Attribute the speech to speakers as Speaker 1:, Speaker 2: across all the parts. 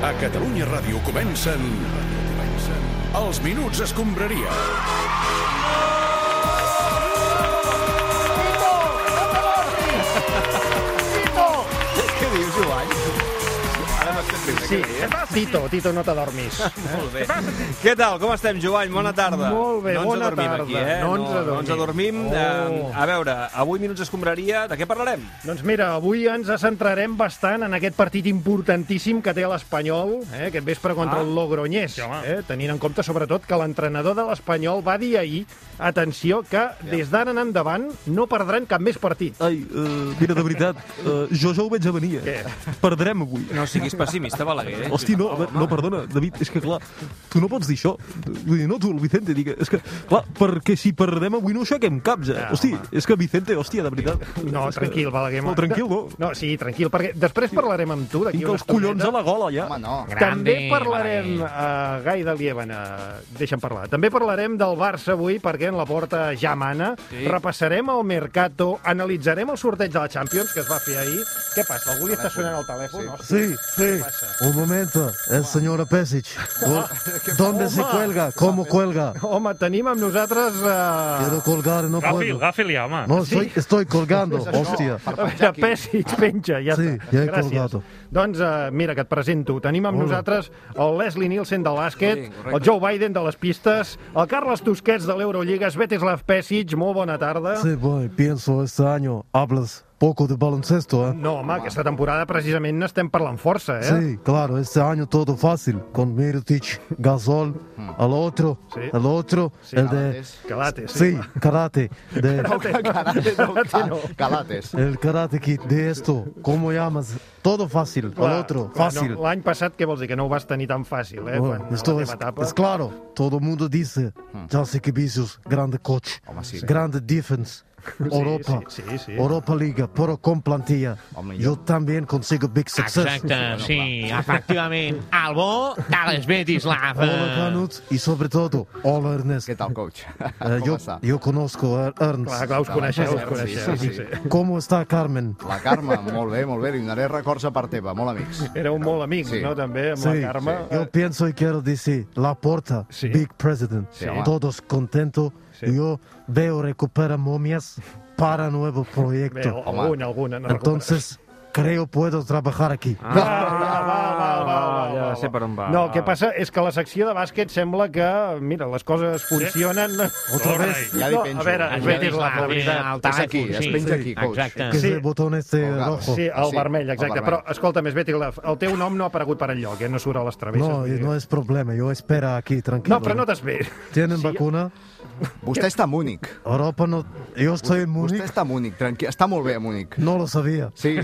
Speaker 1: A Catalunya Ràdio comencen... comencen Els Minuts Escombraria.
Speaker 2: Què dius, Joan? Ara m'has fet riure,
Speaker 3: Sí,
Speaker 2: què dius?
Speaker 3: Tito, Tito, no t'adormis.
Speaker 2: Molt bé. Què tal? Com estem, Joan? Bona tarda.
Speaker 3: Molt bé,
Speaker 2: no ens
Speaker 3: bona
Speaker 2: adormim
Speaker 3: tarda.
Speaker 2: Aquí, eh?
Speaker 3: No ens adormim.
Speaker 2: No ens adormim.
Speaker 3: Oh.
Speaker 2: Eh, a veure, avui Minuts Escombraria, de què parlarem?
Speaker 3: Doncs mira, avui ens centrarem bastant en aquest partit importantíssim que té l'Espanyol, eh, aquest vespre contra
Speaker 2: Ah.
Speaker 3: el Logroñés, eh, tenint en compte, sobretot, que l'entrenador de l'Espanyol va dir ahir, atenció, que des d'ara en endavant no perdran cap més partit.
Speaker 4: Ai, uh, mira, de veritat, uh, jo ja ho veig a venir, eh? Perdrem avui.
Speaker 2: No siguis pessimista, Balaguer. eh?
Speaker 4: Hosti, no, a veure, no, perdona, David, és que clar, tu no pots dir això. Vull dir, no tu, el Vicente, digue, és que, clar, perquè si perdem avui no aixequem caps, eh? Hosti, és que Vicente, hòstia, de veritat.
Speaker 3: Ah, No,
Speaker 4: És que-
Speaker 3: tranquil, Balaguer.
Speaker 4: No, tranquil, no.
Speaker 3: No, sí, tranquil, perquè després parlarem amb tu d'aquí
Speaker 4: Tinc
Speaker 3: una
Speaker 4: els collons a
Speaker 3: estoneta.
Speaker 4: la gola, ja.
Speaker 3: També parlarem a uh, Gai de Liebana, deixa'm parlar. També parlarem del Barça avui, perquè en la porta ja mana. Sí. Repassarem el Mercato, analitzarem el sorteig de la Champions, que es va fer ahir. Què passa? Algú li està sonant el telèfon? Sí.
Speaker 5: Sí, sí. Un momento, el señor Pesic. ¿Dónde se cuelga? ¿Cómo cuelga?
Speaker 3: Home, tenim amb nosaltres...
Speaker 5: Quiero
Speaker 3: Uh...
Speaker 5: colgar, no
Speaker 6: Gafi,
Speaker 5: puedo.
Speaker 6: gafi-li, home.
Speaker 5: No, soy, estoy colgando, hòstia.
Speaker 3: A veure, Pessic, penja, ja
Speaker 5: Sí,
Speaker 3: està.
Speaker 5: ja he
Speaker 3: Gràcies.
Speaker 5: colgat-ho.
Speaker 3: Doncs uh, mira, que et presento. Tenim amb
Speaker 5: Hola.
Speaker 3: nosaltres el Leslie Nielsen del bàsquet, el Joe Biden de les pistes, el Carles Tusquets de l'Eurolliga, Svetislav Pessic, molt bona tarda.
Speaker 5: Sí, boy, pienso este año hablas poco de baloncesto, ¿eh?
Speaker 3: No, home, aquesta temporada precisament n'estem parlant força, eh?
Speaker 5: Sí, claro, este año todo fácil. Con Mirotic, Gasol, al otro,
Speaker 3: Hmm. Sí.
Speaker 5: al otro, el de...
Speaker 3: Calate, sí.
Speaker 5: Sí, karate. De...
Speaker 3: no.
Speaker 7: Calates.
Speaker 5: El karate kid de esto, ¿cómo llamas? Todo fácil, al otro,
Speaker 3: clar,
Speaker 5: fácil.
Speaker 3: No, L'any passat, què vols dir? Que no ho vas tenir tan fàcil, eh? quan,
Speaker 5: Bueno,
Speaker 3: a
Speaker 5: esto
Speaker 3: la
Speaker 5: es,
Speaker 3: teva etapa.
Speaker 5: es claro. Todo el mundo dice,
Speaker 7: Hum.
Speaker 5: Jessica Vicious, grande coach,
Speaker 7: assim?
Speaker 5: grande defense, Europa,
Speaker 3: sí, sí, sí.
Speaker 5: Europa Liga, pero con plantilla.
Speaker 7: Home,
Speaker 5: Yo también consigo big success.
Speaker 8: Exacte, sí, efectivament. El bo de les Betislav.
Speaker 5: Hola, Canut, y sobre todo, hola, Ernest.
Speaker 7: Què tal, coach?
Speaker 5: Eh,
Speaker 7: Com
Speaker 5: yo,
Speaker 7: està?
Speaker 5: yo conozco a Ernst.
Speaker 3: Clar, clar, us
Speaker 7: Sí,
Speaker 3: coneixeu,
Speaker 7: sí,
Speaker 3: us
Speaker 7: sí,
Speaker 3: coneixeu.
Speaker 7: sí, sí.
Speaker 5: ¿Cómo está Carmen?
Speaker 7: La Carme, molt bé, molt bé. Li donaré records a part teva, molt amics.
Speaker 3: Éreu molt amics,
Speaker 7: Sí.
Speaker 3: no?, també, amb la Carme.
Speaker 5: Yo pienso y quiero decir, la porta,
Speaker 3: eh, Sí.
Speaker 5: Big President,
Speaker 7: home.
Speaker 5: todos contentos. Yo veo recupera momias para nuevo
Speaker 3: Bé,
Speaker 5: proyecto.
Speaker 3: alguna, alguna. No
Speaker 5: Entonces, creo puedo trabajar aquí.
Speaker 3: Ah, va, va, va, va, va,
Speaker 2: ja
Speaker 3: va,
Speaker 2: sé
Speaker 3: va.
Speaker 2: per on va.
Speaker 3: No, el que passa és que la secció de bàsquet sembla que, mira, les coses funcionen...
Speaker 5: Otra
Speaker 6: Torna-hi.
Speaker 5: vez,
Speaker 7: Ja li
Speaker 3: No,
Speaker 7: penjo.
Speaker 3: a veure,
Speaker 7: Ja
Speaker 8: Els
Speaker 7: li-
Speaker 3: Svetislav, la veritat.
Speaker 8: el
Speaker 7: És aquí,
Speaker 8: telèfon,
Speaker 7: es
Speaker 8: sí.
Speaker 7: penja aquí, coach.
Speaker 5: que
Speaker 8: Exacte.
Speaker 5: es el botón este
Speaker 7: Colgado,
Speaker 5: rojo.
Speaker 3: Sí, el
Speaker 7: Sí,
Speaker 3: vermell,
Speaker 7: el
Speaker 3: exacte.
Speaker 7: vermell.
Speaker 3: Però, escolta'm, Svetislav, el teu nom no ha aparegut per enlloc, eh? No surt a les travesses.
Speaker 5: No,
Speaker 3: vull dir.
Speaker 5: no es problema, yo espero aquí, tranquilo.
Speaker 3: no però no t'esperis.
Speaker 5: ¿Tienen
Speaker 3: Sí.
Speaker 5: vacuna?
Speaker 7: Vostè està a Múnich.
Speaker 5: Europa no... Yo estoy
Speaker 7: Vostè
Speaker 5: en Múnich,
Speaker 7: està a Múnich, tranquil. Està molt bé a Múnich.
Speaker 5: no lo sabía.
Speaker 7: Sí.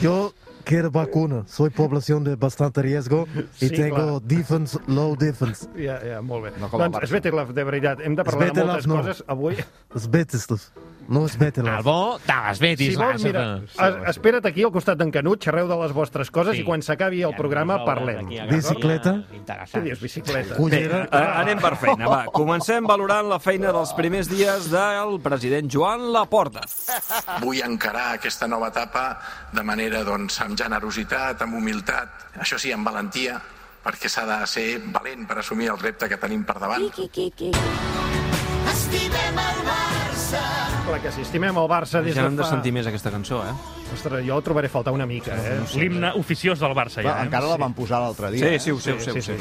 Speaker 5: Yo quiero vacuna, soy población de bastante riesgo y
Speaker 3: Sí,
Speaker 5: tengo defense, low defense.
Speaker 3: Ja, ja, molt bé.
Speaker 7: No com el
Speaker 3: doncs,
Speaker 7: Barça.
Speaker 3: Svetislav, de veritat, hem de parlar de
Speaker 5: Svetislav,
Speaker 3: moltes
Speaker 5: no.
Speaker 3: coses avui.
Speaker 5: Es Betislav, no es Betislav.
Speaker 8: El bo de les
Speaker 3: Si
Speaker 8: Betislav.
Speaker 3: vols, mira, es, espera't aquí al costat d'en Canut, xerreu de les vostres coses
Speaker 8: Sí.
Speaker 3: i quan s'acabi el programa parlem.
Speaker 5: Bicicleta?
Speaker 3: Què dius, bicicleta?
Speaker 5: Cullera.
Speaker 2: Eh, anem per feina, va. Comencem valorant la feina dels primers dies del president Joan Laporta.
Speaker 9: Vull encarar aquesta nova etapa de manera doncs, amb generositat, amb humilitat, això sí, amb valentia, perquè s'ha de ser valent per assumir el repte que tenim per davant.
Speaker 3: Clar que sí, estimem el Barça des
Speaker 2: Ja no hem
Speaker 3: de
Speaker 2: de
Speaker 3: fa...
Speaker 2: sentir més aquesta cançó, eh?
Speaker 3: Ostres, jo el trobaré a faltar una mica, eh?
Speaker 6: L'himne oficiós del Barça, ja.
Speaker 7: Va,
Speaker 6: eh?
Speaker 7: encara la van posar l'altre dia. eh?
Speaker 2: Sí, sí, ho sé, ho sé, ho sé.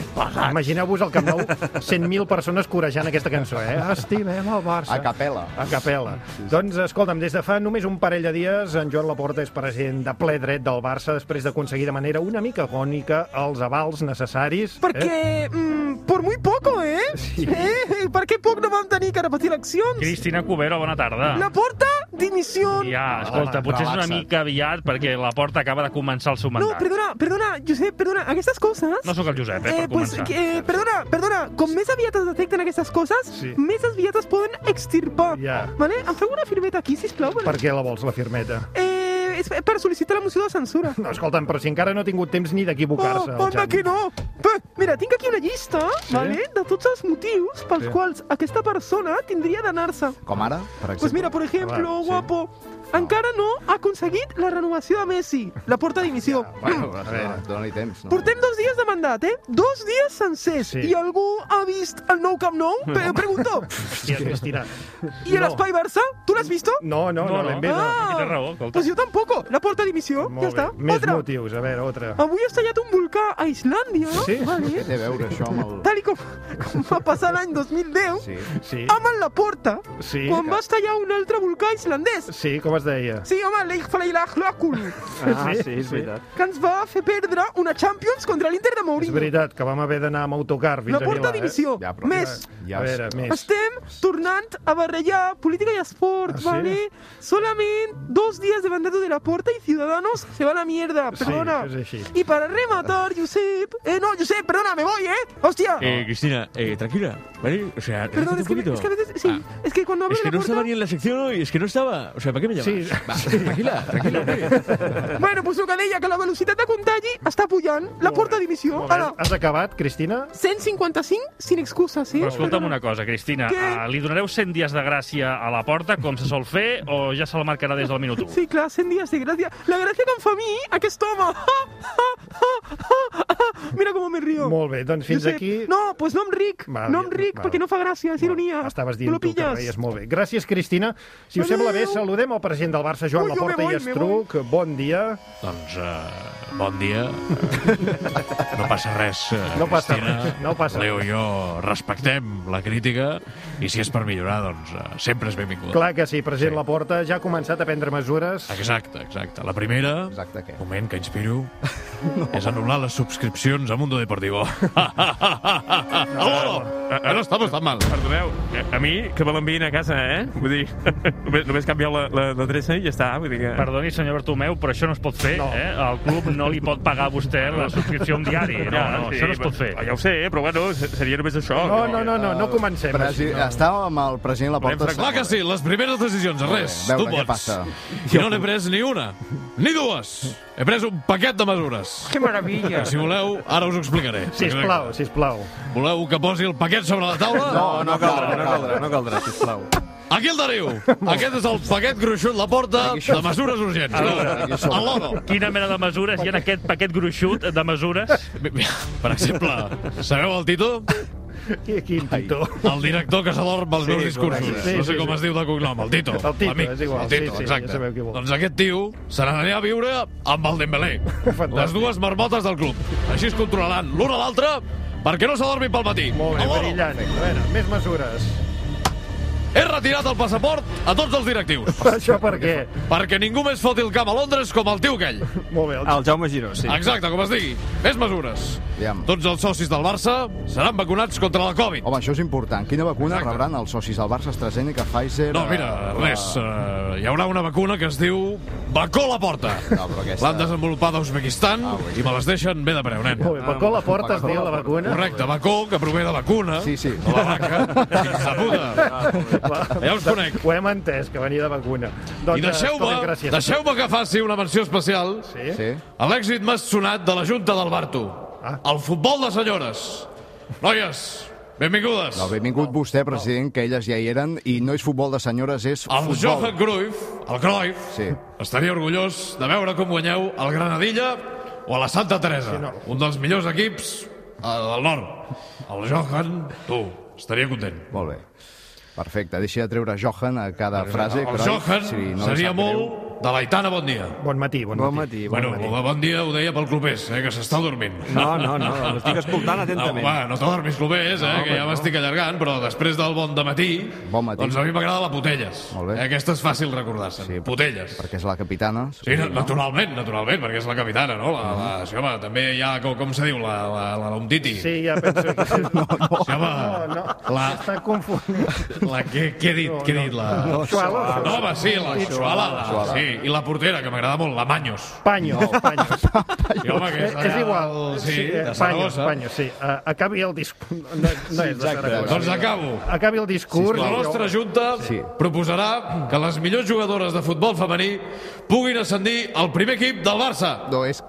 Speaker 3: Imagineu-vos al Camp Nou 100.000 persones corejant aquesta cançó, eh? Estimem el Barça.
Speaker 7: A capella.
Speaker 3: A capella. Doncs, escolta'm, des de fa només un parell de dies, en Joan Laporta és president de ple dret del Barça després d'aconseguir de manera una mica agònica els avals necessaris. eh?
Speaker 4: Perquè,
Speaker 6: Eh?
Speaker 4: mm, por muy poco, eh?
Speaker 3: Sí.
Speaker 4: eh? Perquè poc no vam tenir que repetir eleccions.
Speaker 6: Cristina Cubero, bona tarda.
Speaker 4: La porta, dimissió.
Speaker 6: Ah. Ja, escolta,
Speaker 3: Home,
Speaker 6: potser és una
Speaker 7: relaxa't.
Speaker 6: mica aviat perquè la porta acaba de començar el seu
Speaker 4: No,
Speaker 6: mandat.
Speaker 4: perdona, perdona, Josep, perdona, aquestes coses...
Speaker 6: No sóc el Josep, eh, per
Speaker 4: pues,
Speaker 6: començar.
Speaker 4: eh, perdona, perdona, com més aviat es detecten aquestes coses,
Speaker 3: Sí.
Speaker 4: més aviat es poden extirpar.
Speaker 3: Ja.
Speaker 4: Vale? Em feu una firmeta aquí, sisplau?
Speaker 3: Eh? Per què la vols, la firmeta?
Speaker 4: Eh, és per sol·licitar la moció de censura.
Speaker 3: No, escolta'm, però si encara no ha tingut temps ni
Speaker 4: Oh,
Speaker 3: d'equivocar-se. el
Speaker 4: anda
Speaker 3: Xavi.
Speaker 4: que no! Bé, mira, tinc aquí una llista, vale? de tots els motius pels
Speaker 3: Sí.
Speaker 4: quals aquesta persona tindria d'anar-se.
Speaker 7: Com ara, per exemple.
Speaker 4: Pues mira, por ejemplo,
Speaker 3: Ah, sí.
Speaker 4: guapo,
Speaker 10: encara no ha aconseguit la renovació de Messi, la porta d'inició.
Speaker 3: Ah,
Speaker 7: Bueno, a
Speaker 3: eh,
Speaker 7: veure, dona-hi temps. No?
Speaker 10: Portem dos dies de mandat, eh? Dos dies sencers.
Speaker 7: Sí.
Speaker 10: I algú ha vist el nou Camp Nou? Pe pregunto.
Speaker 3: Hòstia, Cristina.
Speaker 10: I no. l'Espai Barça? Tu l'has vist?
Speaker 3: No, no, no, l'hem vist, no.
Speaker 10: Ah,
Speaker 3: Tens raó, escolta.
Speaker 10: Pues jo tampoc. La porta d'inició, ja està.
Speaker 3: Més
Speaker 10: Otra. Oh,
Speaker 3: motius, a veure, otra.
Speaker 10: Avui ha estallat un volcà a Islàndia.
Speaker 3: Sí?
Speaker 10: Vale.
Speaker 7: Té a veure això amb el...
Speaker 10: Tal i com, com va passar l'any 2010, sí,
Speaker 3: sí.
Speaker 10: amb la porta,
Speaker 3: Sí.
Speaker 10: quan va estallar un altre volcà islandès.
Speaker 3: Sí, com es deia?
Speaker 10: Sí, home, l'Eichfleilahlakul,
Speaker 2: Ah, sí, és veritat.
Speaker 10: que ens va fer perdre una Champions contra l'Inter de
Speaker 3: És
Speaker 10: Mourinho.
Speaker 3: veritat, que vam haver d'anar amb autocar fins
Speaker 10: La
Speaker 3: a Milà,
Speaker 10: porta d'inició.
Speaker 3: Eh?
Speaker 10: Ja, però- Més.
Speaker 3: Ja, a veure, més.
Speaker 10: Estem tornant a barrejar política i esport,
Speaker 3: Ah, sí?
Speaker 10: ¿vale? Solament dos dies de mandato de la porta i Ciudadanos se va a la mierda, perdona.
Speaker 3: és així.
Speaker 10: I per rematar, Josep... Eh, no, Josep, perdona, me voy, eh? Hòstia!
Speaker 11: Eh, Cristina, eh, tranquila, ¿vale? O sea,
Speaker 10: Perdón,
Speaker 11: relájate
Speaker 10: es que,
Speaker 11: un poquito. Ah.
Speaker 10: es que a veces... Sí, es que cuando hablo
Speaker 11: Es
Speaker 10: de
Speaker 11: que
Speaker 10: la
Speaker 11: no
Speaker 10: porta...
Speaker 11: estaba ni en la sección hoy, es que no estaba. O sea, ¿para qué me llamas?
Speaker 10: Sí.
Speaker 11: Va, tranquila, tranquila, hombre.
Speaker 10: Bueno, pues el que deia, que la velocitat de contagi està pujant la porta d'emissió. Ara,
Speaker 3: Has acabat, Cristina?
Speaker 10: 155 sin eh. excuses, sí?
Speaker 6: Però escolta'm una cosa, Cristina, uh, li donareu 100 dies de gràcia a la porta, com se sol fer, o ja se la marcarà des del minut 1?
Speaker 10: Sí, clar, 100 dies de gràcia. La gràcia que em fa a mi, aquest home. Ah, ah, ah, ah, ah. Mira com me río.
Speaker 3: Molt bé, doncs fins
Speaker 10: Josep,
Speaker 3: aquí-
Speaker 10: No, pues no em ric.
Speaker 3: Val,
Speaker 10: no em
Speaker 3: ja,
Speaker 10: ric,
Speaker 3: val.
Speaker 10: perquè no fa gràcia, és ironia.
Speaker 3: Estaves
Speaker 10: Tu
Speaker 3: dient
Speaker 10: lo
Speaker 3: tu que
Speaker 10: pilles.
Speaker 3: reies molt bé. Gràcies, Cristina. Si us sembla bé, saludem el president del Barça, Joan
Speaker 10: Ui, jo me
Speaker 3: Laporta
Speaker 10: voy,
Speaker 3: i
Speaker 10: me
Speaker 3: Estruc. Bon dia.
Speaker 11: Doncs, eh, bon dia. No passa res, eh,
Speaker 3: No passa
Speaker 11: Cristina.
Speaker 3: res, no passa
Speaker 11: Leo
Speaker 3: res.
Speaker 11: i jo respectem la crítica i si és per millorar, doncs eh, sempre és benvingut.
Speaker 3: Clar que sí, president Laporta. Ja ha començat a prendre mesures.
Speaker 11: Exacte, exacte. La primera, exacte, què? moment que inspiro, no. és anul·lar les subscripcions a Mundo Deportivo. ¡Aló! Eh, no estamos tan mal.
Speaker 12: Ah, Perdoneu, eh, a mi, que me l'envien a casa, eh? Vull dir, només, només canvieu la- la- l'adreça i ja està, vull dir que...
Speaker 6: Perdoni, senyor Bartomeu, però això no es pot fer, no. eh? El club no li pot pagar a vostè la subscripció a un diari. No, no, això no es pot fer.
Speaker 12: Ja ho sé, però bueno, se- seria només això.
Speaker 3: No, no, no, no, no comencem
Speaker 7: Ah, Presi...
Speaker 3: així. No.
Speaker 7: Estava amb el president Laporta...
Speaker 11: Doncs Clar que sí, les primeres decisions,
Speaker 7: Molt bé,
Speaker 11: res,
Speaker 7: a veure
Speaker 11: tu
Speaker 7: què
Speaker 11: pots.
Speaker 7: passa.
Speaker 11: Jo no n'he pres ni una, ni dues. He pres un paquet de mesures.
Speaker 3: Que meravilla.
Speaker 11: Si voleu, ara us ho explicaré.
Speaker 3: Sisplau, sisplau.
Speaker 11: Voleu que posi el paquet sobre la taula?
Speaker 3: No, no caldrà, no caldrà,
Speaker 2: no caldrà, sisplau.
Speaker 11: Aquí el teniu. Aquest és el paquet gruixut, la porta de mesures urgents. A l'oro.
Speaker 6: Quina mena de mesures hi ha en aquest paquet gruixut de mesures?
Speaker 11: Per exemple, sabeu el Tito?
Speaker 3: Qui, quin Tito?
Speaker 11: El director que s'adorm als
Speaker 3: Sí,
Speaker 11: meus discursos.
Speaker 3: correcte. Sí,
Speaker 11: no sé
Speaker 3: sí,
Speaker 11: com
Speaker 3: sí.
Speaker 11: es diu de cognom, el Tito.
Speaker 3: El Tito,
Speaker 11: l'amic,
Speaker 3: és igual,
Speaker 11: El Tito,
Speaker 3: sí, sí,
Speaker 11: exacte.
Speaker 3: ja sabeu qui vol.
Speaker 11: Doncs aquest tio se n'anirà a viure amb el Dembélé. Les dues marmotes del club. Així es controlaran l'un a l'altre perquè no s'adormi pel matí.
Speaker 3: Molt bé,
Speaker 11: Alhora,
Speaker 3: brillant. A veure, més mesures.
Speaker 11: He retirat el passaport a tots els directius.
Speaker 3: Això per què?
Speaker 11: Perquè ningú més foti el camp a Londres com el tio aquell.
Speaker 3: Molt bé.
Speaker 2: El Jaume Giró, sí.
Speaker 11: Exacte, com es digui. Més mesures.
Speaker 7: Aviam.
Speaker 11: Tots els socis del Barça seran vacunats contra la Covid.
Speaker 7: Home, això és important. Quina vacuna Exacte. rebran els socis del Barça, AstraZeneca, Pfizer...
Speaker 11: No, Ah, mira, res. eh, hi haurà una vacuna que es diu Bacó la porta.
Speaker 7: No, però aquesta-
Speaker 11: L'han desenvolupada a Uzbekistan i me les deixen bé de preu, nen.
Speaker 3: Molt bé, Bacó la porta es diu la vacuna.
Speaker 11: Correcte, Bacó, que prové de vacuna. Sí, sí. De la vaca. Fills de puta. Ja us conec.
Speaker 3: Ho hem entès, que venia de vacuna.
Speaker 11: I
Speaker 3: eh, escolta'm,
Speaker 11: deixeu-me
Speaker 3: gràcies.
Speaker 11: deixeu que faci una menció especial
Speaker 3: Sí.
Speaker 11: a l'èxit més sonat de la Junta del Barto.
Speaker 3: Ah.
Speaker 11: El futbol de senyores. Noies, benvingudes.
Speaker 7: No, benvingut vostè, president, que elles ja hi eren, i no és futbol de senyores, és
Speaker 11: El
Speaker 7: futbol.
Speaker 11: Johan Cruyff, el Cruyff,
Speaker 7: Sí.
Speaker 11: estaria orgullós de veure com guanyeu al Granadilla o a la Santa Teresa, sí, no. un dels millors equips eh, del nord. El Johan, tu, estaria content.
Speaker 7: Molt bé. Perfecte, deixi de treure Johan a cada frase.
Speaker 11: el
Speaker 7: Cruyff,
Speaker 11: Johan
Speaker 7: li sap
Speaker 11: seria
Speaker 7: greu.
Speaker 11: molt de l'Aitana, bon dia.
Speaker 3: Bon matí, bon, bon matí.
Speaker 11: bueno, bon, bon dia ho deia pel clubers, eh, que s'està dormint.
Speaker 2: No, no, no, l'estic escoltant atentament.
Speaker 11: No, home, no t'adormis clubers, eh,
Speaker 2: No,
Speaker 11: que
Speaker 2: home,
Speaker 11: ja
Speaker 2: no.
Speaker 11: m'estic allargant, però després del bon de matí,
Speaker 7: Bon matí.
Speaker 11: doncs a mi m'agrada la Potelles. Molt bé. Eh, aquesta és fàcil recordar-se'n. Sí, Potelles.
Speaker 7: Perquè és la capitana.
Speaker 11: Sí, na- naturalment, naturalment, perquè és la capitana, no? La, la, sí, home, també hi ha, com, com se diu, la, la, la, la Umtiti.
Speaker 3: Sí, ja penso que... No,
Speaker 11: no. Sí, home,
Speaker 3: no.
Speaker 11: la,
Speaker 3: Està confonent.
Speaker 11: la, què, què he dit? No, què he dit? La...
Speaker 3: no. Xuala.
Speaker 11: No, home, sí, la Xuala. La,
Speaker 3: Xuala.
Speaker 11: sí, i la portera, que m'agrada molt, la Manyos.
Speaker 3: Panyos, panyos.
Speaker 11: Sí, home, que és,
Speaker 3: Eh, és igual.
Speaker 11: Sí,
Speaker 3: eh,
Speaker 11: de
Speaker 3: panyos,
Speaker 11: Saragossa.
Speaker 3: panyos, sí. Uh, acabi el discurs. No, no és de Saragossa.
Speaker 11: Doncs acabo.
Speaker 3: Acabi el discurs.
Speaker 11: La
Speaker 3: i jo-
Speaker 11: nostra Junta sí. proposarà que les millors jugadores de futbol femení puguin ascendir al primer equip del Barça.
Speaker 7: No, és...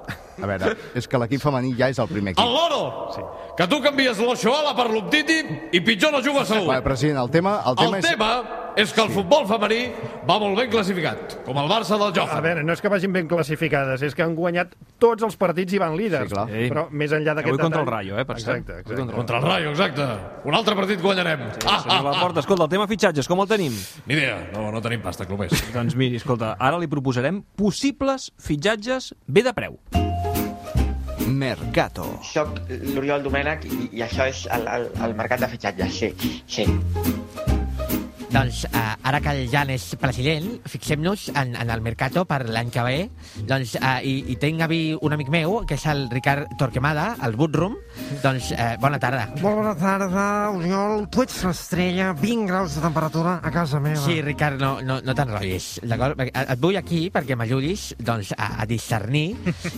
Speaker 7: A veure, és que l'equip femení ja és el primer
Speaker 11: El
Speaker 7: equip.
Speaker 11: Loro! Sí. Que tu canvies l'Oxoala per l'Optiti i pitjor no jugues segur.
Speaker 7: Vale, president, el tema... El tema,
Speaker 11: El
Speaker 7: és...
Speaker 11: tema és que el futbol femení va molt ben classificat, com el Barça del
Speaker 3: A
Speaker 11: Johan.
Speaker 3: veure, no és que vagin ben classificades, és que han guanyat tots els partits i van líders.
Speaker 11: Sí, clar. Sí.
Speaker 3: Però més enllà d'aquest
Speaker 11: Avui contra el
Speaker 3: detall-
Speaker 11: Rayo, eh, per cert.
Speaker 3: exacte,
Speaker 11: Avui
Speaker 3: exacte.
Speaker 11: Contra el Rayo, exacte. Un altre partit guanyarem. Ah, Sí,
Speaker 2: senyor Laporta, escolta, el tema fitxatges, com el tenim?
Speaker 11: Ni idea, no, no tenim pasta, clubers.
Speaker 2: Doncs miri, escolta, ara li proposarem possibles fitxatges bé de preu.
Speaker 13: Mercato. Soc l'Oriol Domènech i, i això és el, el, el mercat de fitxatges, sí, sí.
Speaker 8: Doncs eh, ara que el Jan és president, fixem-nos en, en el Mercato per l'any que ve. Doncs, eh, i, I tinc a vi un amic meu, que és el Ricard Torquemada, al Bootroom. Doncs eh, bona tarda.
Speaker 14: Molt bona tarda, Oriol. Tu ets l'estrella, 20 graus de temperatura a casa meva.
Speaker 8: Sí, Ricard, no, no, no t'enrotllis, d'acord? Perquè Et et vull aquí perquè m'ajudis doncs, a, a discernir...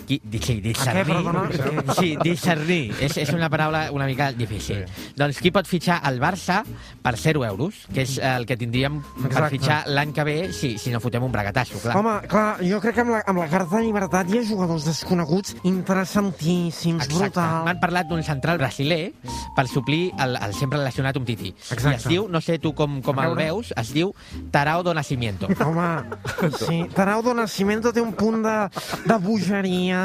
Speaker 8: Qui, di, sí, discernir...
Speaker 14: perdona?
Speaker 8: sí, discernir. És, és una paraula una mica difícil. Sí. Doncs qui pot fitxar el Barça per 0 euros, que és el que tindríem per
Speaker 14: Exacte.
Speaker 8: fitxar l'any que ve si, si no fotem un bragatasso, clar.
Speaker 14: Home, clar, jo crec que amb la, amb la carta de llibertat hi ha jugadors desconeguts interessantíssims, brutals.
Speaker 8: M'han parlat d'un central brasiler per suplir el, el sempre relacionat amb Titi.
Speaker 14: Exacte.
Speaker 8: I es diu, no sé tu com, com
Speaker 14: A
Speaker 8: el
Speaker 14: veure.
Speaker 8: veus, es diu Tarao do Nascimento.
Speaker 14: Home, sí, Tarau do Nascimento té un punt de, de bogeria,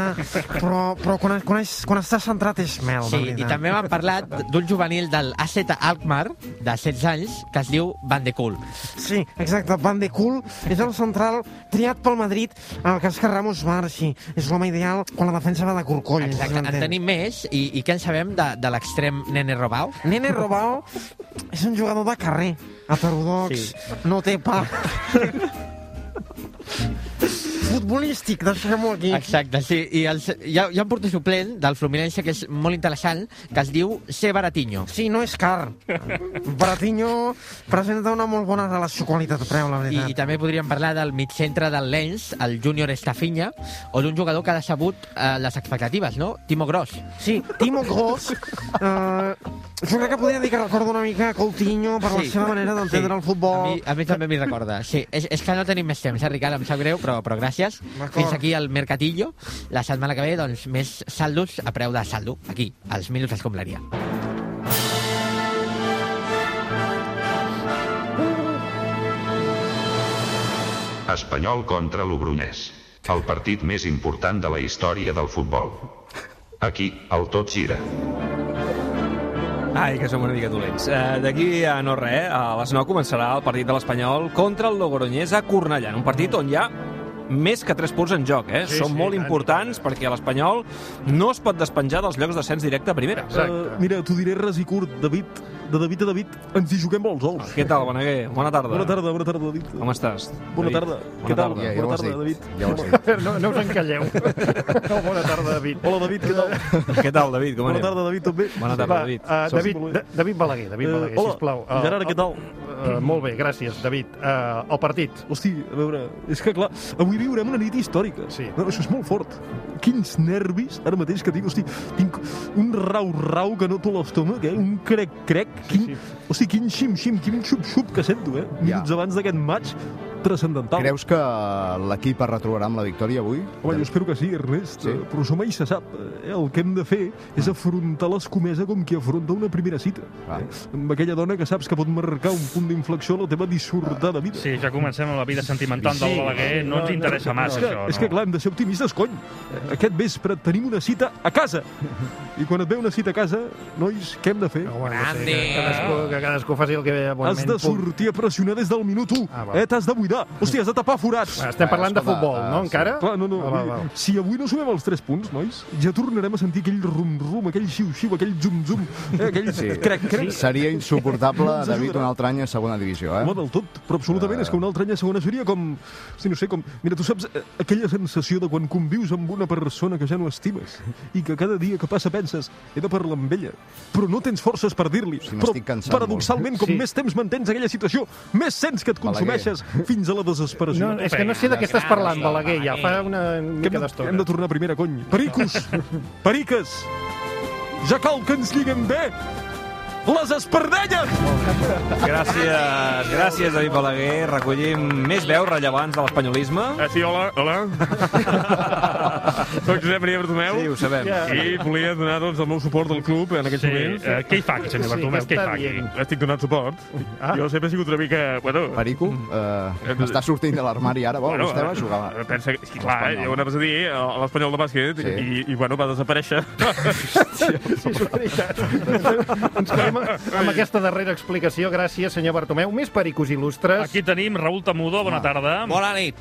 Speaker 14: però, però quan, quan, és, quan està centrat és mel,
Speaker 8: Sí,
Speaker 14: de
Speaker 8: i
Speaker 14: veritat.
Speaker 8: també m'han parlat d'un juvenil del AZ Alkmaar, de 16 anys, que es diu Van de Cool.
Speaker 14: Sí, exacte, Van de Cool és el central triat pel Madrid en el cas que Ramos marxi. És l'home ideal quan la defensa va de corcoll.
Speaker 8: Exacte, en tenim més, i, i què en sabem de, de l'extrem Nene Robau?
Speaker 14: Nene Robao és un jugador de carrer, heterodox, sí. no té pa. Futbolístic, deixem-ho aquí.
Speaker 8: Exacte, sí, i els, hi, ha, hi ha un porter suplent del Fluminense que és molt interessant, que es diu C. Baratinho.
Speaker 14: Sí, no és car. Bratinho presenta una molt bona relació qualitat-preu, la
Speaker 8: I,
Speaker 14: veritat.
Speaker 8: I també podríem parlar del mitcentre del Lens, el Júnior Estafinya, o d'un jugador que ha decebut eh, les expectatives, no? Timo Gross.
Speaker 14: Sí, Timo Gross. Eh, jo crec que podria dir que recordo una mica Coutinho per sí. la seva manera d'entendre sí. el futbol.
Speaker 8: A mi, a mi també m'hi recorda. Sí, és, és que no tenim més temps, eh, Ricard? Em sap greu, però, però gràcies.
Speaker 14: D'acord.
Speaker 8: Fins aquí el Mercatillo. La setmana que ve, doncs, més saldos a preu de saldo. Aquí, als Minuts Escombraria.
Speaker 15: Espanyol contra l'Obrunès. El partit més important de la història del futbol. Aquí, el tot gira.
Speaker 2: Ai, que som una mica dolents. Uh, D'aquí a no res, a les 9 començarà el partit de l'Espanyol contra el Logroñés a Cornellà, en un partit on hi ha més que 3 punts en joc, eh?
Speaker 3: Sí,
Speaker 2: Sí, Són
Speaker 3: sí,
Speaker 2: sí, molt
Speaker 3: i tant,
Speaker 2: importants perquè l'Espanyol no es pot despenjar dels llocs d'ascens directe a primera.
Speaker 4: Eh, mira, t'ho diré res i curt, David. De David a David ens hi juguem molts ous.
Speaker 2: Què tal, Beneguer? Bona tarda.
Speaker 4: Bona tarda, bona tarda, David.
Speaker 2: Com estàs?
Speaker 4: Bona
Speaker 2: David?
Speaker 4: tarda.
Speaker 2: Bona
Speaker 4: Què tal?
Speaker 2: tarda.
Speaker 4: Bona tarda, David.
Speaker 3: No, no us encalleu. No, bona tarda, David.
Speaker 4: Hola, David, què tal?
Speaker 2: Què tal, David? Com
Speaker 4: Bona
Speaker 2: anem?
Speaker 4: tarda, David, també.
Speaker 2: Bona tarda,
Speaker 3: Va,
Speaker 2: David.
Speaker 3: eh, David, Da- David Balaguer, David
Speaker 4: Eh,
Speaker 3: Balaguer,
Speaker 4: hola,
Speaker 3: sisplau.
Speaker 4: Gerard, què tal?
Speaker 3: Eh, molt bé, gràcies, David. Eh, el partit.
Speaker 4: Hosti, a veure, és que clar, avui viurem una nit històrica. Sí. No, això és molt fort. Quins nervis, ara mateix que tinc, hosti, tinc un rau-rau que no tot l'estómac, eh? un crec-crec, quin, hosti, quin xim-xim, quin xup-xup que sento, eh? Minuts abans d'aquest maig transcendental.
Speaker 7: Creus que l'equip es retrobarà amb la victòria avui?
Speaker 4: Home, jo espero que sí, Ernest,
Speaker 7: Sí. Mm.
Speaker 4: sí. però això mai se sap. Eh, El que hem de fer és afrontar l'escomesa com qui afronta una primera cita. Eh? Amb aquella dona que saps que pot marcar un punt d'inflexió a la teva dissortada vida.
Speaker 6: Sí, ja comencem amb la vida sentimental del
Speaker 4: Sí,
Speaker 6: Balaguer, no ens interessa massa,
Speaker 4: és que,
Speaker 6: això,
Speaker 4: És que,
Speaker 6: no.
Speaker 4: clar, hem de ser optimistes, cony. Eh, Aquest vespre tenim una cita a casa. I quan et ve una cita a casa, nois, què hem de fer?
Speaker 3: No sé, que, cadascú, que cadascú faci el que ve bonament.
Speaker 4: Has de sortir a pressionar des del minut 1. Ah, eh, T'has de buidar. Hòstia, has de tapar forats.
Speaker 3: Va, estem parlant de Escolta, futbol, no, eh, sí. encara?
Speaker 4: Clar, no, no.
Speaker 3: Ah, va, va.
Speaker 4: vull dir, Si avui no sumem els 3 punts, nois, ja tornarem a sentir aquell rum-rum, aquell xiu-xiu, aquell zum-zum, eh, aquell crec-crec.
Speaker 7: Seria
Speaker 4: No
Speaker 7: insuportable,
Speaker 4: ens
Speaker 7: David,
Speaker 4: ajudarà.
Speaker 7: un altre any a segona divisió, eh?
Speaker 4: Home, del tot, però absolutament, és que una altra any a segona seria com... Si no sé, com... Mira, tu saps eh, aquella sensació de quan convius amb una persona que ja no estimes i que cada dia que passa penses he de parlar amb ella, però no tens forces per dir-li.
Speaker 7: Sí,
Speaker 4: però
Speaker 7: m'estic cansant
Speaker 4: paradoxalment,
Speaker 7: molt.
Speaker 4: com
Speaker 7: Sí.
Speaker 4: més temps mantens aquella situació, més sents que et consumeixes fins a la desesperació.
Speaker 3: No, és que no sé de què estàs parlant, Balaguer, ja. Fa una
Speaker 4: Que hem
Speaker 3: mica
Speaker 4: de,
Speaker 3: d'estona.
Speaker 4: hem de tornar a primera, cony. Pericos! Periques! Ja cal que ens lliguem bé! les espardelles!
Speaker 2: Gràcies, gràcies, David Balaguer. Recollim més veus rellevants de l'espanyolisme.
Speaker 12: Eh,
Speaker 2: Ah, sí, hola, hola.
Speaker 12: Soc Josep Maria Bartomeu. Sí, ho
Speaker 2: sabem.
Speaker 12: I volia donar doncs, el meu suport al club en aquests
Speaker 6: Sí,
Speaker 12: moments.
Speaker 6: eh, què hi fa, aquest senyor Sí, Bartomeu? què Què hi fa està aquí? dient?
Speaker 12: Estic donant suport. Ah. Jo sempre he sigut una mica... Bueno, Mm.
Speaker 7: Perico, eh, està sortint de l'armari ara, vol? Vostè va jugar.
Speaker 12: eh, Pensa que, és que clar,
Speaker 7: Espanyol.
Speaker 12: eh, ho anaves a dir, a a l'Espanyol de bàsquet,
Speaker 7: Sí.
Speaker 12: i, i, bueno, va desaparèixer.
Speaker 3: Ens quedem amb aquesta darrera explicació. Gràcies, senyor Bartomeu. Més pericos il·lustres.
Speaker 6: Aquí tenim Raül Tamudo, bona tarda.
Speaker 8: Ah. Bona nit.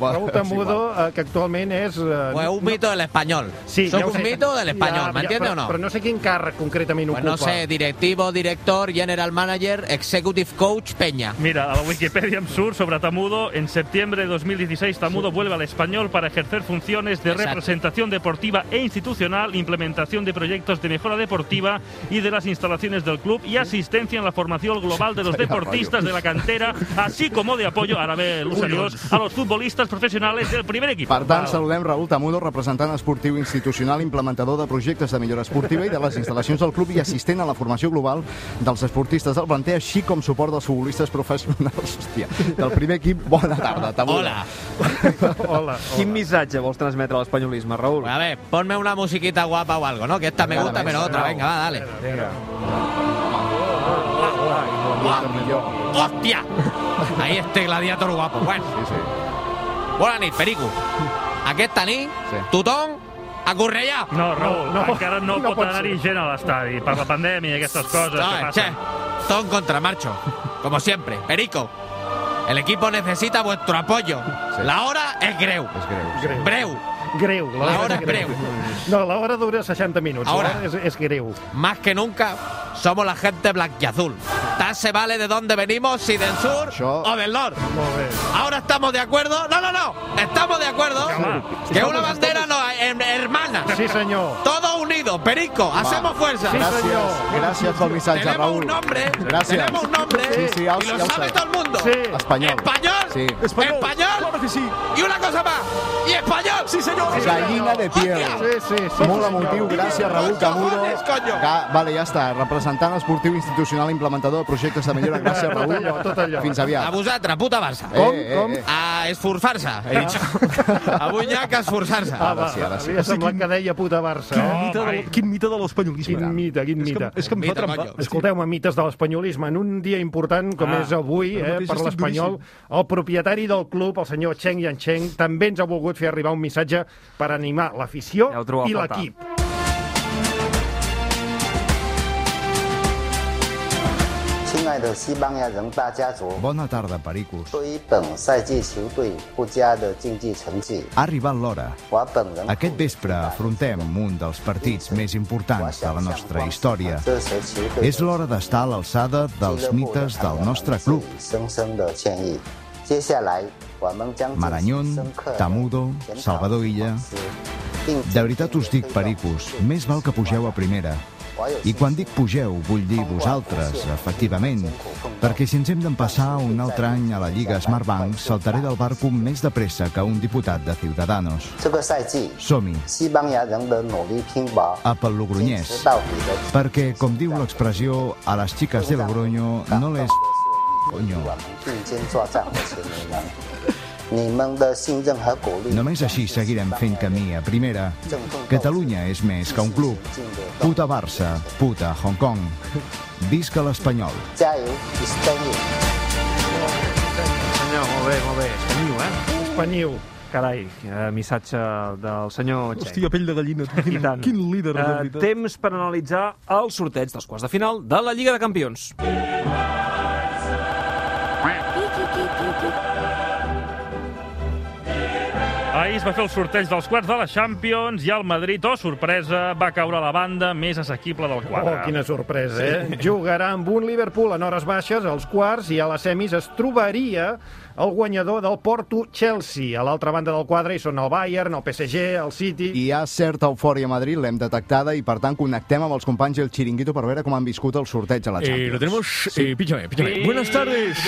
Speaker 3: Raúl Tamudo, eh, que actualment és... Eh,
Speaker 8: Pues un mito del español.
Speaker 3: Sí,
Speaker 8: Soy
Speaker 3: ja ho
Speaker 8: un
Speaker 3: sé.
Speaker 8: mito del español,
Speaker 3: Ja,
Speaker 8: ¿me
Speaker 3: ja,
Speaker 8: entiendes
Speaker 3: però-
Speaker 8: o no?
Speaker 3: Però no sé quin càrrec concretament
Speaker 8: Pues
Speaker 3: ocupa.
Speaker 8: no sé, directivo, director, general manager, executive coach, Peña.
Speaker 6: Mira, a la Wikipedia em surt sobre Tamudo. En septiembre de 2016, Tamudo vuelve al español para ejercer funciones de
Speaker 8: Exacto.
Speaker 6: representación deportiva e institucional, implementación de proyectos de mejora deportiva y de las instalaciones del club y asistencia en la formación global de los
Speaker 12: Vaya
Speaker 6: deportistas
Speaker 12: rollo.
Speaker 6: de la cantera, así como de apoyo, ahora ve los
Speaker 7: Collons.
Speaker 6: adiós, a los futbolistas profesionales del primer equipo.
Speaker 7: Per tant,
Speaker 6: Vale.
Speaker 7: saludem Raül Tamudo, representant esportiu institucional, implementador de projectes de millora esportiva i de les instal·lacions del club i assistent a la formació global dels esportistes del planter, així com suport dels futbolistes professionals. Hòstia, del primer equip, bona tarda, Tamudo.
Speaker 3: Hola.
Speaker 2: Quin missatge vols transmetre a l'espanyolisme, Raül?
Speaker 8: A ver, ponme una musiquita guapa o algo, ¿no? Que esta me
Speaker 2: Venga,
Speaker 8: gusta,
Speaker 2: venga,
Speaker 8: pero otra,
Speaker 2: venga.
Speaker 8: venga, va, dale. ¡Hostia! Ahí este gladiador guapo. Bueno. Bona nit, Perico. Aquesta nit, tothom a correllar.
Speaker 6: No, Raül, no, encara no, no pot anar-hi gent a l'estadi per la pandèmia i aquestes coses que
Speaker 8: Ay, che,
Speaker 6: passen.
Speaker 8: todo en contramarcho, como siempre. Perico, el equipo necesita vuestro apoyo. La hora es greu.
Speaker 3: Greu.
Speaker 8: Breu.
Speaker 3: Greu.
Speaker 8: La hora es breu.
Speaker 3: No, la hora dura 60 minuts.
Speaker 8: Ahora.
Speaker 3: L'hora és, és greu.
Speaker 8: Más que nunca somos la gente black y azul. Tan se vale de dónde venimos, si del sur o del norte. Ahora estamos de acuerdo. No, no, no. Estamos de acuerdo que una bandera no hay, em- hermana.
Speaker 3: Sí, senyor.
Speaker 8: Todos unidos, Perico, hacemos fuerza.
Speaker 7: Gràcies, gràcies pel missatge,
Speaker 8: Tenemos
Speaker 7: Raül.
Speaker 8: un nombre, ¿eh?
Speaker 7: gràcies.
Speaker 8: tenemos un nombre,
Speaker 7: sí, sí, ja ho,
Speaker 8: y lo
Speaker 7: ja ho
Speaker 8: sabe
Speaker 7: sé.
Speaker 8: todo el mundo.
Speaker 7: Sí. Espanyol.
Speaker 8: Espanyol.
Speaker 7: Sí.
Speaker 8: Espanyol. Y una cosa más. Y español. Sí, señor.
Speaker 7: Gallina de piel.
Speaker 3: Sí, sí, sí.
Speaker 7: Molt emotiu, gràcies, Raül Tamudo. Ja, vale, ja està. Representant esportiu institucional implementador de projectes de millora. Gràcies,
Speaker 8: Tot
Speaker 7: Raül.
Speaker 8: allò, tot allò.
Speaker 7: Fins aviat.
Speaker 8: A vosaltres, puta Barça.
Speaker 7: Com, Eh, eh, com? eh.
Speaker 8: A esforçar-se, he dit. Avui hi ha que esforçar-se.
Speaker 3: Ah, va, havia semblat que deia puta Barça.
Speaker 4: Quin mite de
Speaker 3: eh?
Speaker 4: l- Quin mite de l'espanyolisme.
Speaker 3: Quin mite, quin mite.
Speaker 4: És que, em- és que em fa trampar.
Speaker 3: Escolteu-me, mites de l'espanyolisme. En un dia important com
Speaker 4: Ah,
Speaker 3: és avui
Speaker 4: ara
Speaker 3: eh,
Speaker 4: mateix
Speaker 3: per
Speaker 4: estic
Speaker 3: l'Espanyol, el propietari del club, el senyor Cheng Yancheng, també ens ha volgut fer arribar un missatge per animar l'afició
Speaker 2: Ja ho trobo a
Speaker 3: i
Speaker 2: faltar.
Speaker 3: l'equip.
Speaker 7: Bona tarda, Pericos.
Speaker 16: 对于本赛季球队不佳的竞技成绩，
Speaker 7: Ha arribat l'hora.
Speaker 16: 我本人
Speaker 7: Aquest vespre afrontem un dels partits més importants de la nostra història.
Speaker 16: 这些球队
Speaker 7: És l'hora d'estar a l'alçada
Speaker 16: 俱
Speaker 7: dels
Speaker 16: 乐部的
Speaker 7: mites
Speaker 16: 成
Speaker 7: del
Speaker 16: 员们
Speaker 7: nostre
Speaker 16: 致
Speaker 7: club.
Speaker 16: 以深深的歉意。接下来我们将进
Speaker 7: Maranyón,
Speaker 16: 行深刻的
Speaker 7: Tamudo, Salvador Illa... De veritat us dic, pericos, més val que pugeu a primera. I quan dic pugeu, vull dir vosaltres, efectivament, perquè si ens hem d'empassar un altre any a la Lliga Smartbank, saltaré del barco més de pressa que un diputat de Ciudadanos.
Speaker 16: 这个赛季
Speaker 7: Som-hi,
Speaker 16: 西班牙人的努力拼搏，
Speaker 7: a pel Logroñés,
Speaker 16: 直到底的
Speaker 7: perquè, com diu l'expressió, a les xiques de Logroño no les... Coño.
Speaker 16: 并肩作战的球迷们，你们的信任和鼓励
Speaker 7: Només així seguirem fent camí a primera. Catalunya és més que un club. Puta Barça, puta Hong Kong. Visca l'Espanyol.
Speaker 16: 加油，Espanyol！
Speaker 2: Senyor, molt bé, molt bé. Espanyiu, eh?
Speaker 3: Espanyiu.
Speaker 2: Carai, eh, missatge del senyor Txec.
Speaker 4: Hòstia, pell de gallina. tu, Quin, quin líder, de
Speaker 2: Eh,
Speaker 4: veritat.
Speaker 2: temps per analitzar el sorteig dels quarts de final de la Lliga de Campions.
Speaker 6: Ahir es va fer el sorteig dels quarts de la Champions i el Madrid, oh, sorpresa, va caure a la banda més assequible del quadre.
Speaker 3: Oh, quina sorpresa, eh? Jugarà amb un Liverpool en hores baixes, als quarts, i a les semis es trobaria el guanyador del Porto-Chelsea. A l'altra banda del quadre hi són el Bayern, el PSG, el City...
Speaker 7: Hi ha certa eufòria a Madrid, l'hem detectada, i per tant connectem amb els companys del Chiringuito per veure com han viscut el sorteig a la
Speaker 11: Eh,
Speaker 7: Champions.
Speaker 11: lo tenemos. Eh, píchame, píchame. Buenas tardes.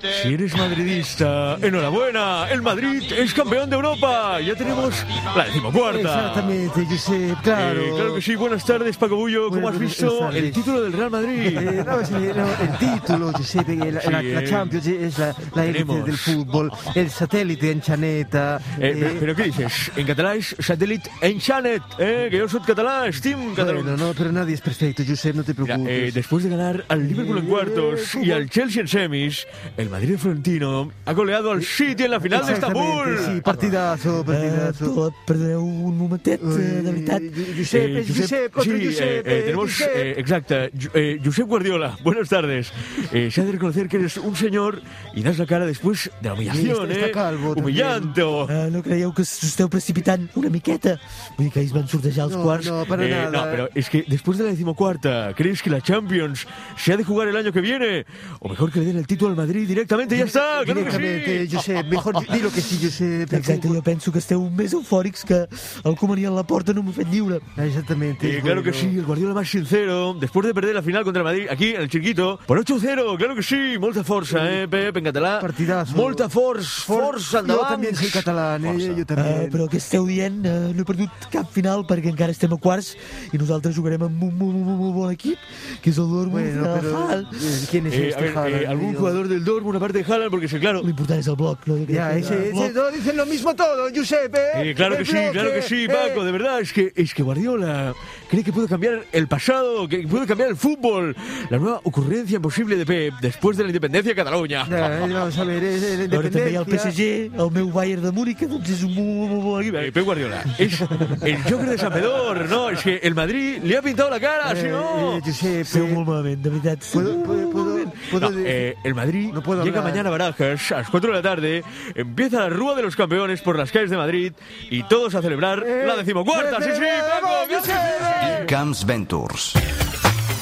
Speaker 17: Si eres madridista, enhorabuena, el Madrid es campeón de Europa. Ya tenemos la decimocuarta.
Speaker 18: Exactamente, Josep, claro.
Speaker 17: Eh, claro que sí, buenas tardes, Paco Bullo. ¿Cómo
Speaker 18: Buenas- buenas
Speaker 17: has visto
Speaker 18: tardes.
Speaker 17: el título del Real Madrid?
Speaker 18: Eh, no, sí, no, el título, Giuseppe, que la,
Speaker 17: Sí,
Speaker 18: la-
Speaker 17: eh.
Speaker 18: la Champions es la, la élite
Speaker 17: Tenemos.
Speaker 18: del fútbol, el satélite en Chaneta.
Speaker 17: Eh,
Speaker 18: eh,
Speaker 17: pe- ¿Pero qué dices? En catalán es satélite enxanet, eh, que yo soy catalán, Steam catalán.
Speaker 18: Bueno, no, pero nadie es perfecto, Josep, no pues Eh, te preocupes.
Speaker 17: Eh, después de ganar al Liverpool en cuartos y al Chelsea en semis, el Madrid Florentino ha goleado al City en la final de Estambul.
Speaker 18: Exactament, Eh, Sí, partidazo, partidazo.
Speaker 17: tot,
Speaker 18: perdeu Eh, un momentet, de veritat. Josep,
Speaker 17: Eh,
Speaker 18: és Josep, contra
Speaker 17: sí, eh,
Speaker 18: Josep,
Speaker 17: eh,
Speaker 18: eh,
Speaker 17: tenemos,
Speaker 18: Josep.
Speaker 17: eh, exacto, Ju- eh, Josep Guardiola, buenas tardes. Eh, se ha de reconocer que eres un señor y das la cara después de la humillación,
Speaker 18: Sí, està-
Speaker 17: eh?
Speaker 18: està calvo, també.
Speaker 17: Humillante.
Speaker 18: Ah, no creieu que us esteu precipitant una miqueta? Vull dir que ells van sortejar els
Speaker 17: No,
Speaker 18: quarts.
Speaker 17: no, Eh, no, pero es que después de la decimocuarta, ¿crees que la Champions se ha de jugar el año que viene? O mejor que le den el título al Madrid directamente, ya está, claro que sí.
Speaker 18: Directamente, Josep, mejor di- di lo que sí, Josep.
Speaker 19: Exacte, jo penso que esteu més eufòrics que el comaniat la porta no m'ho fet lliure.
Speaker 18: Exactamente.
Speaker 17: Eh, claro que sí, el Guardiola más sincero, después de perder la final contra el Madrid, aquí en el Chiquito, por 8-0, claro que sí, molta força, eh, Pep, en català. Partidazo. Molta força, força,
Speaker 18: Jo
Speaker 17: endavant.
Speaker 18: també soy català, eh? Jo també.
Speaker 19: Ah, però què esteu dient? Eh, no he perdut cap final perquè encara estem a quarts i nosaltres jugarem amb un molt, molt, molt bon equip, que és el Dortmund
Speaker 18: Bueno,
Speaker 19: bueno,
Speaker 18: però, eh, ¿quién es este
Speaker 17: a ver,
Speaker 18: Haaland,
Speaker 17: algún
Speaker 18: tío?
Speaker 17: jugador del Dortmund aparte de Haaland, porque sí, claro. Lo
Speaker 19: importante es el bloc, ¿no?
Speaker 18: Ya, ese, ese, no, dicen lo mismo todo, Giuseppe.
Speaker 17: Eh, claro que
Speaker 18: El
Speaker 17: sí, claro que
Speaker 18: bloque,
Speaker 17: sí,
Speaker 18: eh.
Speaker 17: Paco, de verdad, es que, es que Guardiola cree que puede cambiar el pasado, que puede cambiar el fútbol. La nueva ocurrencia imposible de Pep después de la independencia de Cataluña.
Speaker 18: Ja, eh, vamos a ver, eh, eh, la
Speaker 19: A veure, també hi ha el PSG,
Speaker 18: independència.
Speaker 19: el meu Bayern de Múnich, doncs és un molt, molt, molt bon equip.
Speaker 17: Eh, Pep Guardiola, es el Joker de San Pedor, no, es que el Madrid le ha pintado la
Speaker 18: Eh,
Speaker 17: cara,
Speaker 19: Eh,
Speaker 17: si no.
Speaker 18: Josep,
Speaker 19: Esteu molt malament, de veritat.
Speaker 18: ¿Puedo, puedo, puedo, puedo
Speaker 17: No,
Speaker 18: decir-
Speaker 17: eh, el Madrid
Speaker 18: puedo
Speaker 17: llega
Speaker 18: hablar.
Speaker 17: mañana a Barajas a las 4 de la tarde, empieza la Rúa de los Campeones por las calles de Madrid y todos a celebrar
Speaker 18: Eh,
Speaker 17: la decimocuarta. Sí, sí, Paco, bien, sí, sí.
Speaker 2: Camps Ventures.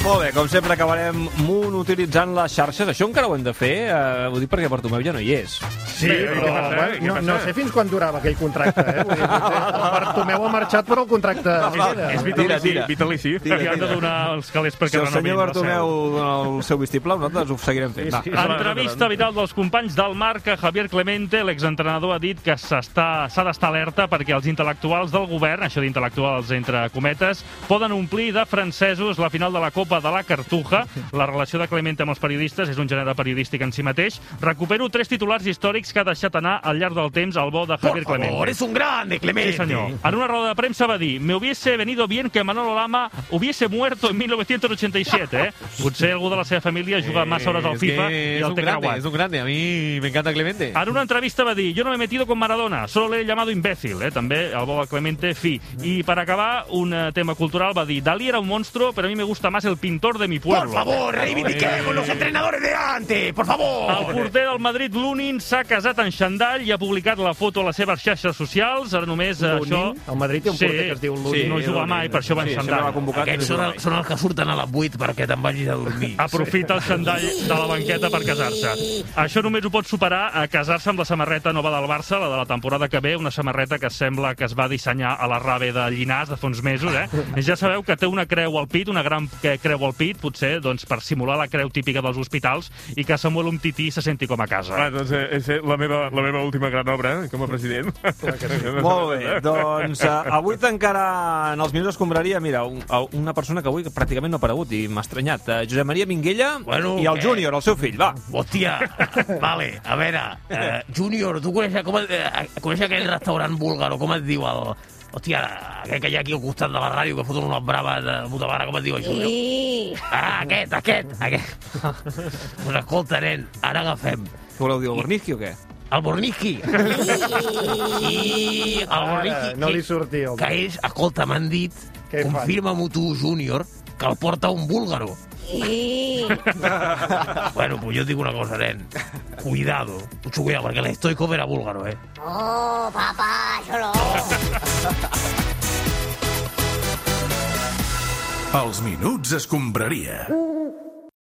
Speaker 2: Molt bé, com sempre acabarem monotilitzant les xarxes. Això encara ho hem de fer, eh, ho dic perquè Bartomeu ja no hi és.
Speaker 3: Sí, però, bueno, no, no sé fins quan durava aquell contracte, eh? Vull dir, potser el Bartomeu ha marxat, però el contracte...
Speaker 2: Ah,
Speaker 12: És vitalici, vitalici.
Speaker 6: Li han de donar els calés perquè
Speaker 2: si el
Speaker 6: renovin
Speaker 2: senyor
Speaker 6: la
Speaker 2: Bartomeu dona el seu vistiplau, nosaltres ho seguirem fent. Va.
Speaker 6: Entrevista vital dels companys del Marca, Javier Clemente, l'exentrenador ha dit que s'està- s'ha d'estar alerta perquè els intel·lectuals del govern, això d'intel·lectuals entre cometes, poden omplir de francesos la final de la Copa de la Cartuja. La relació de Clemente amb els periodistes és un gènere periodístic en si mateix. Recupero tres titulars històrics que ha deixat anar al llarg del temps al bo de Javier Clemente.
Speaker 1: es un grande, Clemente.
Speaker 6: Sí, señor. En una rueda de prensa va dir «Me hubiese venido bien que Manolo Lama hubiese muerto en 1987», eh? Potser algú de la seva família juga massa hores al
Speaker 2: és
Speaker 6: FIFA
Speaker 2: que
Speaker 6: i
Speaker 2: és
Speaker 6: el
Speaker 2: un
Speaker 6: té
Speaker 2: grande,
Speaker 6: creuat.
Speaker 2: és un grande. A mi m'encanta Clemente.
Speaker 6: En una entrevista va dir, yo no me he metido con Maradona, solo le he llamado imbécil, eh? també el Boba Clemente, fi. I per acabar, un eh, tema cultural va dir, Dalí era un monstruo, pero a mí me gusta más el pintor de mi pueblo.
Speaker 1: Por favor, reivindiquemos los entrenadores de antes, por
Speaker 6: El
Speaker 1: favor.
Speaker 6: porter del Madrid, Lunin, s'ha casat en xandall i ha publicat la foto a les seves xarxes socials. Ara només eh,
Speaker 3: Lunin?
Speaker 6: això...
Speaker 3: El Madrid té un porter que es diu Lunin.
Speaker 6: Sí, no juga
Speaker 3: Lunin.
Speaker 6: mai, per això va en
Speaker 3: Sí, sempre va
Speaker 6: xandall.
Speaker 3: convocat i no Aquests són juga el- mai.
Speaker 6: són els que surten a les 8 perquè te'n vagis a dormir. Aprofita el xandall de la banqueta per casar-se. Això només ho pot superar a casar-se amb la samarreta nova del Barça, la de la temporada que ve, una samarreta que sembla que es va dissenyar a la rave de Llinars de fa uns mesos, eh? Ja sabeu que té una creu al pit, una gran que- creu al pit, potser, doncs, per simular la creu típica dels hospitals i que Samuel Umtiti se senti com a casa.
Speaker 12: Ah, doncs eh, és eh, la meva, la meva última gran obra eh, com a president.
Speaker 2: Molt bé, doncs eh, avui tancarà en els minuts escombraria, mira, un, a- una persona que avui pràcticament no ha aparegut i m'ha estranyat, eh, Josep Maria Minguella bueno, i el
Speaker 1: eh.
Speaker 2: Júnior, el seu fill, va.
Speaker 1: Hòstia, vale, a veure, eh, Júnior, tu coneixes, com, es- eh, coneixes aquell restaurant búlgar o com es diu el... Hòstia, aquest que hi ha aquí al costat de la ràdio que foten unes braves de puta mare, com es diu això? Ah, aquest, aquest, aquest. Doncs escolta, nen, ara agafem.
Speaker 2: Què voleu dir, el Borniski o què?
Speaker 1: El Borniski. I el Borniski.
Speaker 3: no li sortia, home.
Speaker 1: Que és, escolta, m'han dit,
Speaker 3: Què fan?
Speaker 1: confirma-m'ho tu, Júnior, que el porta un búlgaro. bueno, pues yo digo una cosa, Ren. Cuidado, mucho cuidado, porque el estoico era búlgaro, ¿eh?
Speaker 11: Oh, papá, yo lo...
Speaker 20: Els minuts escombraria.